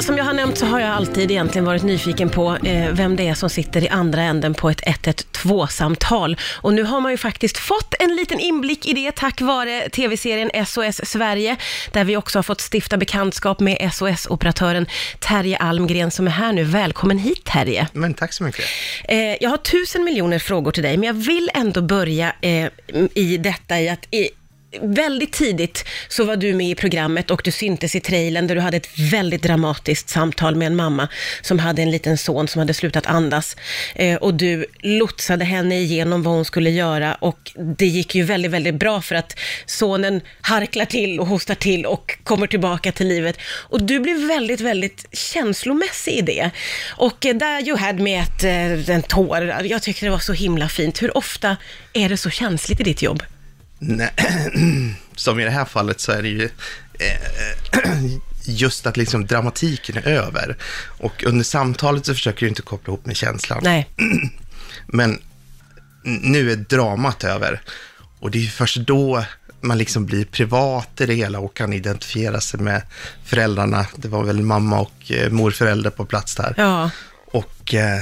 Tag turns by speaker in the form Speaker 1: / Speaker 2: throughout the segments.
Speaker 1: Som jag har nämnt så har jag alltid egentligen varit nyfiken på eh, vem det är som sitter i andra änden på ett 112-samtal. Och nu har man ju faktiskt fått en liten inblick i det tack vare tv-serien SOS Sverige, där vi också har fått stifta bekantskap med SOS-operatören Terje Almgren som är här nu. Välkommen hit Terje!
Speaker 2: Men tack så mycket.
Speaker 1: Eh, jag har tusen miljoner frågor till dig, men jag vill ändå börja eh, i detta i att i, väldigt tidigt så var du med i programmet och du syntes i trailern där du hade ett väldigt dramatiskt samtal med en mamma som hade en liten son som hade slutat andas. Eh, och du lotsade henne igenom vad hon skulle göra och det gick ju väldigt, väldigt bra för att sonen harklar till och hostar till och kommer tillbaka till livet. Och du blev väldigt, väldigt känslomässig i det. Och eh, där you had med ett, eh, en tår. Jag tyckte det var så himla fint. Hur ofta är det så känsligt i ditt jobb?
Speaker 2: Nej, som i det här fallet så är det ju eh, just att liksom dramatiken är över. Och under samtalet så försöker du inte koppla ihop med känslan.
Speaker 1: Nej.
Speaker 2: Men nu är dramat över. Och det är ju först då man liksom blir privat i det hela och kan identifiera sig med föräldrarna. Det var väl mamma och eh, morförälder på plats där.
Speaker 1: Ja.
Speaker 2: Och eh,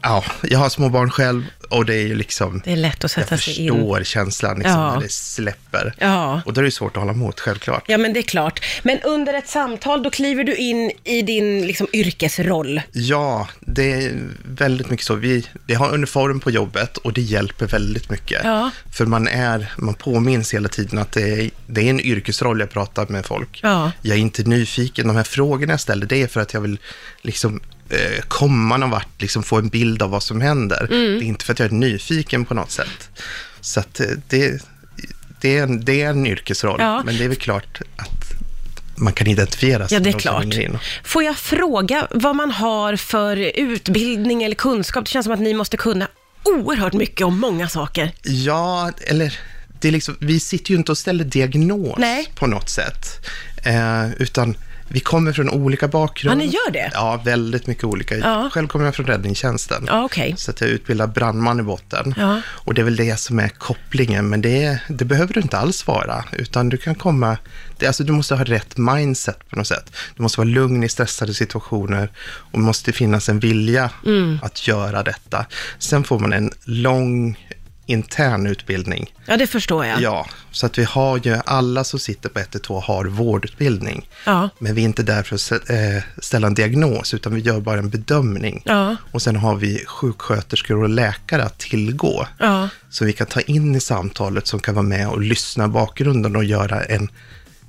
Speaker 2: ja, jag har små barn själv och det är ju liksom...
Speaker 1: Det är lätt att sätta
Speaker 2: jag
Speaker 1: sig in.
Speaker 2: förstår känslan liksom,
Speaker 1: Ja.
Speaker 2: när det släpper.
Speaker 1: Ja.
Speaker 2: Och då är det ju svårt att hålla emot, självklart.
Speaker 1: Ja, men det är klart. Men under ett samtal, då kliver du in i din liksom, yrkesroll.
Speaker 2: Ja, det är väldigt mycket så. Vi, vi har uniform på jobbet och det hjälper väldigt mycket.
Speaker 1: Ja.
Speaker 2: För man, är, man påminns hela tiden att det är, det är en yrkesroll jag pratar med folk.
Speaker 1: Ja.
Speaker 2: Jag är inte nyfiken. De här frågorna jag ställer, det är för att jag vill liksom, eh, komma någon vart, liksom få en bild av vad som händer.
Speaker 1: Mm.
Speaker 2: Det är inte för att jag är nyfiken på något sätt. Så att eh, det, det, är, en, det är en yrkesroll,
Speaker 1: Ja.
Speaker 2: men det är väl klart att man kan identifiera sig
Speaker 1: Ja, det
Speaker 2: med
Speaker 1: är
Speaker 2: de som
Speaker 1: klart.
Speaker 2: ringer in.
Speaker 1: Får jag fråga vad man har för utbildning eller kunskap? Det känns som att ni måste kunna oerhört mycket om många saker.
Speaker 2: Ja, eller det är liksom, vi sitter ju inte och ställer diagnos
Speaker 1: Nej.
Speaker 2: på något sätt. Eh, utan vi kommer från olika bakgrunder.
Speaker 1: Ja, ni gör det?
Speaker 2: Ja, väldigt mycket olika.
Speaker 1: Ja.
Speaker 2: Själv kommer jag från räddningstjänsten.
Speaker 1: Ja, okej.
Speaker 2: Så att jag är utbildad brandman i botten.
Speaker 1: Ja.
Speaker 2: Och det är väl det som är kopplingen, men det, är- det behöver du inte alls vara. Utan du kan komma... Det, alltså du måste ha rätt mindset på något sätt. Du måste vara lugn i stressade situationer och måste finnas en vilja
Speaker 1: Mm.
Speaker 2: att göra detta. Sen får man en lång intern utbildning.
Speaker 1: Ja, det förstår jag.
Speaker 2: Ja, så att vi har ju alla som sitter på 112 har vårdutbildning.
Speaker 1: Ja.
Speaker 2: Men vi är inte där för att sä- eh, ställa en diagnos, utan vi gör bara en bedömning.
Speaker 1: Ja.
Speaker 2: Och sen har vi sjuksköterskor och läkare att tillgå.
Speaker 1: Ja.
Speaker 2: Så vi kan ta in i samtalet som kan vara med och lyssna i bakgrunden och göra en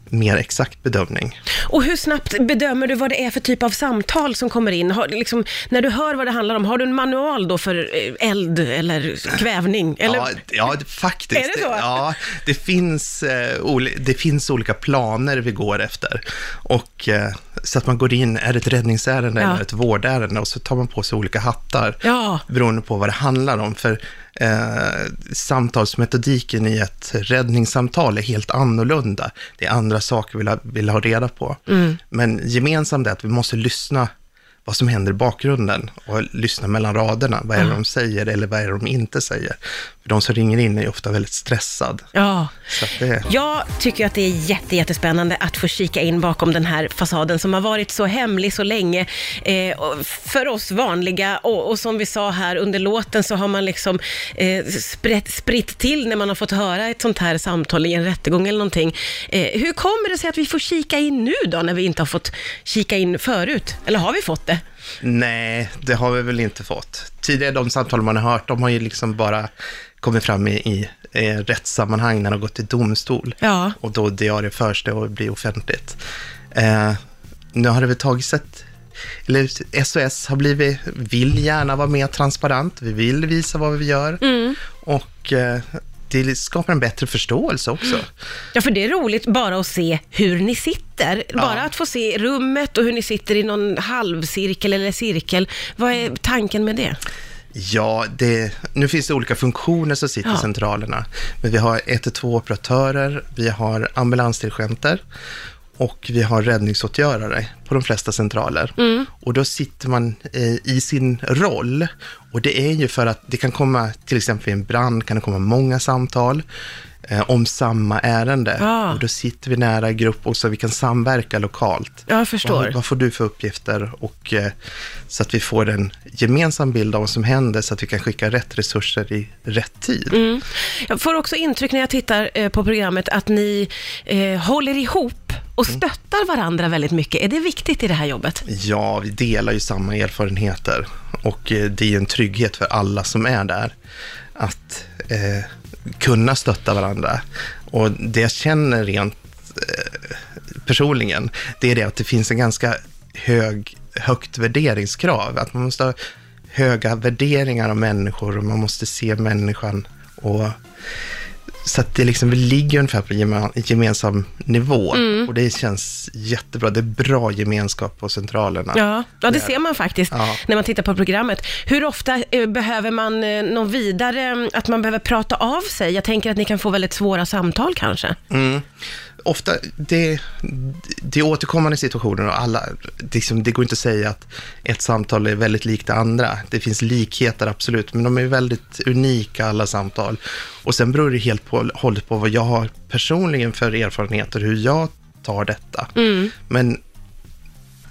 Speaker 2: mer exakt bedömning.
Speaker 1: Och hur snabbt bedömer du vad det är för typ av samtal som kommer in? Har, liksom, när du hör vad det handlar om, har du en manual då för eh, eld eller kvävning? Eller?
Speaker 2: Ja, ja, faktiskt.
Speaker 1: Är det så?
Speaker 2: Ja, det finns, eh, oli- det finns olika planer vi går efter. Och, eh, så att man går in, är det ett räddningsärende
Speaker 1: Ja.
Speaker 2: eller ett vårdärende? Och så tar man på sig olika hattar
Speaker 1: Ja.
Speaker 2: beroende på vad det handlar om. För eh, samtalsmetodiken i ett räddningssamtal är helt annorlunda. Det är andra saker vi vill ha, vill ha reda på.
Speaker 1: Mm.
Speaker 2: Men gemensamt är att vi måste lyssna vad som händer i bakgrunden och lyssna mellan raderna. Vad är det de säger eller vad är det de inte säger? För de som ringer in är ju ofta väldigt stressad.
Speaker 1: ja.
Speaker 2: Så att det,
Speaker 1: Jag tycker att det är jätte, jättespännande att få kika in bakom den här fasaden som har varit så hemlig så länge eh, och för oss vanliga och, och som vi sa här under låten så har man liksom eh, sprätt, spritt till när man har fått höra ett sånt här samtal i en rättegång eller någonting. Eh, hur kommer det sig att vi får kika in nu då när vi inte har fått kika in förut? Eller har vi fått det?
Speaker 2: nej, det har vi väl inte fått. Tidigare de samtal man har hört, de har ju liksom bara kommit fram i, i eh, rättssammanhang när de har gått till domstol.
Speaker 1: Ja.
Speaker 2: och då diarieförs det och blir offentligt. Eh, nu har det väl tagits ett... Eller SOS har blivit, vill gärna vara mer transparent, vi vill visa vad vi gör. Och eh, det skapar en bättre förståelse också.
Speaker 1: Ja, för det är roligt bara att se hur ni sitter. Bara att få se rummet och hur ni sitter i någon halvcirkel eller cirkel. Vad är tanken med det?
Speaker 2: Ja, det, nu finns det olika funktioner som sitter
Speaker 1: Ja.
Speaker 2: i centralerna. Men vi har 112-operatörer, vi har ambulansdirigenter och vi har räddningsåtgörare på de flesta centraler.
Speaker 1: Mm.
Speaker 2: Och då sitter man eh, i sin roll. Och det är ju för att det kan komma, till exempel i en brand, kan det komma många samtal eh, om samma ärende.
Speaker 1: Ah.
Speaker 2: Och då sitter vi nära i grupp och så vi kan samverka lokalt.
Speaker 1: Ja, jag förstår.
Speaker 2: Vad, vad får du för uppgifter? Och, eh, så att vi får en gemensam bild av vad som händer, så att vi kan skicka rätt resurser i rätt tid.
Speaker 1: Mm. Jag får också intryck när jag tittar eh, på programmet att ni eh, håller ihop och stöttar varandra väldigt mycket. Är det viktigt i det här jobbet?
Speaker 2: Ja, vi delar ju samma erfarenheter och eh, det är ju en trygghet för alla som är där att eh, kunna stötta varandra. Och det jag känner rent eh, personligen, det är det att det finns en ganska hög, högt värderingskrav. Att man måste ha höga värderingar av människor och man måste se människan och så att det liksom, vi ligger ungefär på gema- gemensam nivå och det känns jättebra. Det är bra gemenskap på centralerna.
Speaker 1: Ja, ja det ser man faktiskt
Speaker 2: Ja.
Speaker 1: när man tittar på programmet. Hur ofta eh, behöver man eh, någon vidare, mm, att man behöver prata av sig? Jag tänker att ni kan få väldigt svåra samtal kanske.
Speaker 2: Mm. Ofta, det, det är återkommande situationer och alla, liksom, det går inte att säga att ett samtal är väldigt likt det andra. Det finns likheter absolut, men de är väldigt unika alla samtal. Och sen beror det helt på, hållet på vad jag har personligen för erfarenheter, hur jag tar detta. Men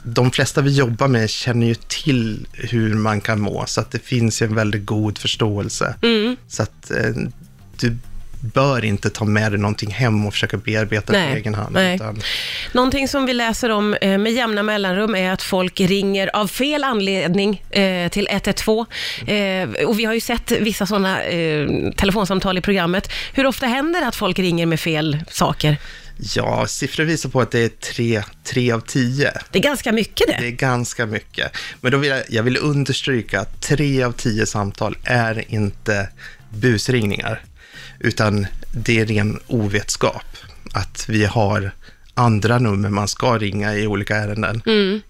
Speaker 2: de flesta vi jobbar med känner ju till hur man kan må, så att det finns ju en väldigt god förståelse.
Speaker 1: Mm.
Speaker 2: Så att eh, du bör inte ta med dig någonting hem och försöka bearbeta det på egen hand.
Speaker 1: nej.
Speaker 2: Utan,
Speaker 1: Någonting som vi läser om eh, med jämna mellanrum är att folk ringer av fel anledning eh, till 112. Eh, och vi har ju sett vissa sådana eh, telefonsamtal i programmet. Hur ofta händer det att folk ringer med fel saker?
Speaker 2: ja, siffror visar på att det är tre, tre av tio.
Speaker 1: Det är ganska mycket
Speaker 2: Det
Speaker 1: det.
Speaker 2: är ganska mycket. Men då vill jag, jag vill understryka att tre av tio samtal är inte busringningar, utan det är ren ovetskap. Att vi har andra nummer man ska ringa i olika ärenden.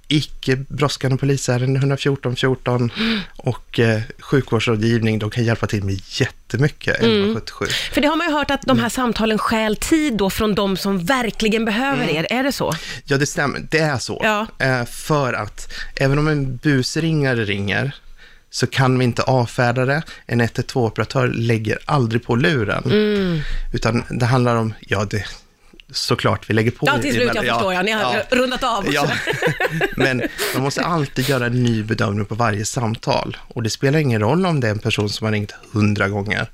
Speaker 2: Icke brådskande polisärenden 114 14 och eh, sjukvårdsrådgivning, de kan hjälpa till med jättemycket, 1177.
Speaker 1: För det har man ju hört att de här samtalen stjäl tid då från de som verkligen behöver er. Är det så?
Speaker 2: Ja, det stämmer. Det är så.
Speaker 1: Ja.
Speaker 2: Eh, för att även om en busringare ringer så kan vi inte avfärda det. En 112-operatör lägger aldrig på luren.
Speaker 1: Mm.
Speaker 2: Utan det handlar om, ja, det, såklart vi lägger på.
Speaker 1: Ja, till slut,
Speaker 2: emellan-
Speaker 1: jag förstår. Ja. Ni har rundat av.
Speaker 2: Ja, men man måste alltid göra en ny bedömning på varje samtal. Och det spelar ingen roll om det är en person som har ringt hundra gånger.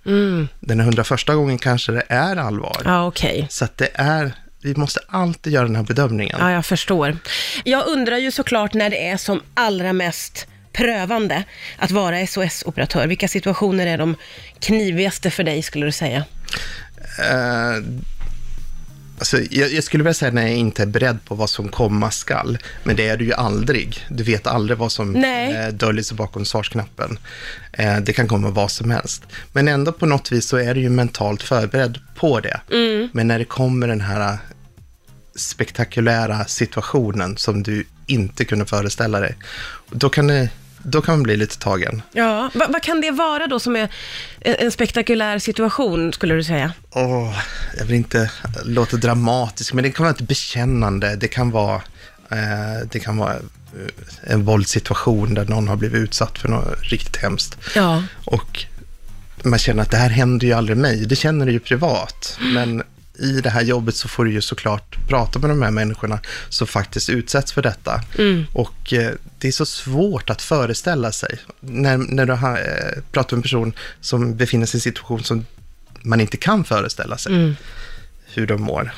Speaker 2: Den hundraförsta gången kanske det är allvar.
Speaker 1: Mm. Ja, okej.
Speaker 2: Så att det är, vi måste alltid göra den här bedömningen.
Speaker 1: Ja, jag förstår. Jag undrar ju såklart när det är som allra mest prövande att vara SOS-operatör. Vilka situationer är de knivigaste för dig, skulle du säga?
Speaker 2: Eh, alltså, jag, jag skulle vilja säga när jag inte är beredd på vad som komma skall, men det är du ju aldrig. Du vet aldrig vad som
Speaker 1: Nej.
Speaker 2: eh, döljer sig bakom svarsknappen. Eh, det kan komma vad som helst. Men ändå på något vis så är du ju mentalt förberedd på det. Men när det kommer den här spektakulära situationen som du inte kunde föreställa dig, då kan, det, då kan man bli lite tagen.
Speaker 1: Ja, va- vad kan det vara då som är en, en spektakulär situation, skulle du säga?
Speaker 2: Åh, jag vill inte låta dramatisk, men det kan vara ett bekännande. Det kan vara, eh, det kan vara eh, en våldssituation där någon har blivit utsatt för något riktigt hemskt.
Speaker 1: Ja.
Speaker 2: Och man känner att det här händer ju aldrig mig. Det känner du ju privat. Men i det här jobbet så får du ju såklart prata med de här människorna som faktiskt utsätts för detta. Och eh, det är så svårt att föreställa sig. När, när du har, eh, pratar med en person som befinner sig i en situation som man inte kan föreställa sig hur de mår.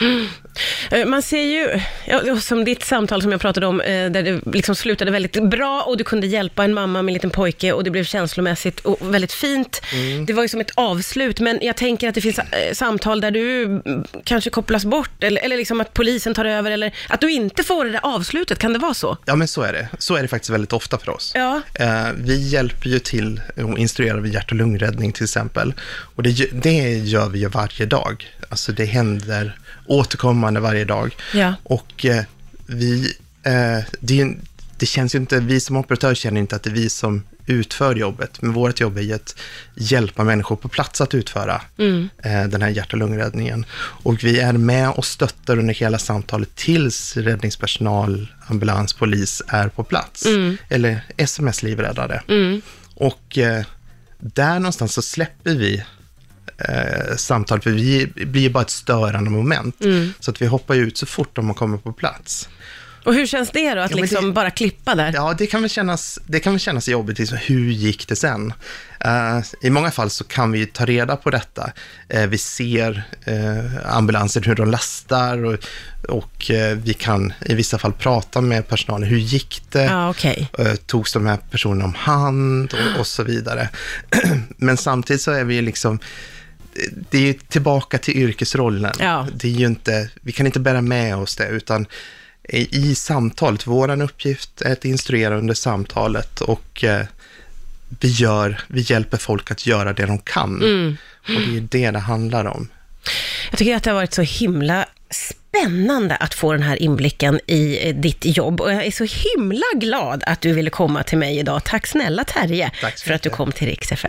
Speaker 1: Eh, Man ser ju, ja, som ditt samtal som jag pratade om, eh, där det liksom slutade väldigt bra och du kunde hjälpa en mamma med en liten pojke och det blev känslomässigt och väldigt fint. Det var ju som ett avslut, men jag tänker att det finns eh, samtal där du mm, kanske kopplas bort eller, eller liksom att polisen tar över eller att du inte får det där avslutet. Kan det vara så?
Speaker 2: Ja, men så är det. Så är det faktiskt väldigt ofta för oss.
Speaker 1: Ja.
Speaker 2: Eh, vi hjälper ju till och instruerar vid hjärt och lungräddning till exempel. Och det, gö- det gör vi ju varje dag. Alltså det händer återkommande varje dag.
Speaker 1: Ja.
Speaker 2: Och eh, vi, eh, det, är ju, det känns ju inte, vi som operatör känner inte att det är vi som utför jobbet. Men vårt jobb är ju att hjälpa människor på plats att utföra eh, den här hjärt och lungräddningen. Och vi är med och stöttar under hela samtalet tills räddningspersonal, ambulans, polis är på plats. Eller sms-livräddare. Och eh, där någonstans så släpper vi eh, samtal, för vi blir ju bara ett störande moment. Så att vi hoppar ju ut så fort de kommer på plats.
Speaker 1: Och hur känns det då, att
Speaker 2: men
Speaker 1: liksom
Speaker 2: det-
Speaker 1: bara klippa där?
Speaker 2: Ja, det kan väl kännas, det kan väl kännas jobbigt, liksom, hur gick det sen? Eh, I många fall så kan vi ju ta reda på detta. Eh, vi ser eh, ambulanser, hur de lastar och, och eh, vi kan i vissa fall prata med personalen, hur gick det?
Speaker 1: Ja, okej.
Speaker 2: Eh, togs de här personerna om hand och, och så vidare. Men samtidigt så är vi ju liksom, det är ju tillbaka till yrkesrollen.
Speaker 1: Ja.
Speaker 2: Det är ju inte, vi kan inte bära med oss det, utan i, i samtalet, vår uppgift är att instruera under samtalet och eh, vi, gör, vi hjälper folk att göra det de kan. Och det är ju det det handlar om.
Speaker 1: Jag tycker att det har varit så himla spännande att få den här inblicken i eh, ditt jobb och jag är så himla glad att du ville komma till mig idag. Tack snälla Terje
Speaker 2: Tack så
Speaker 1: för att du
Speaker 2: mycket.
Speaker 1: kom till Rix FM.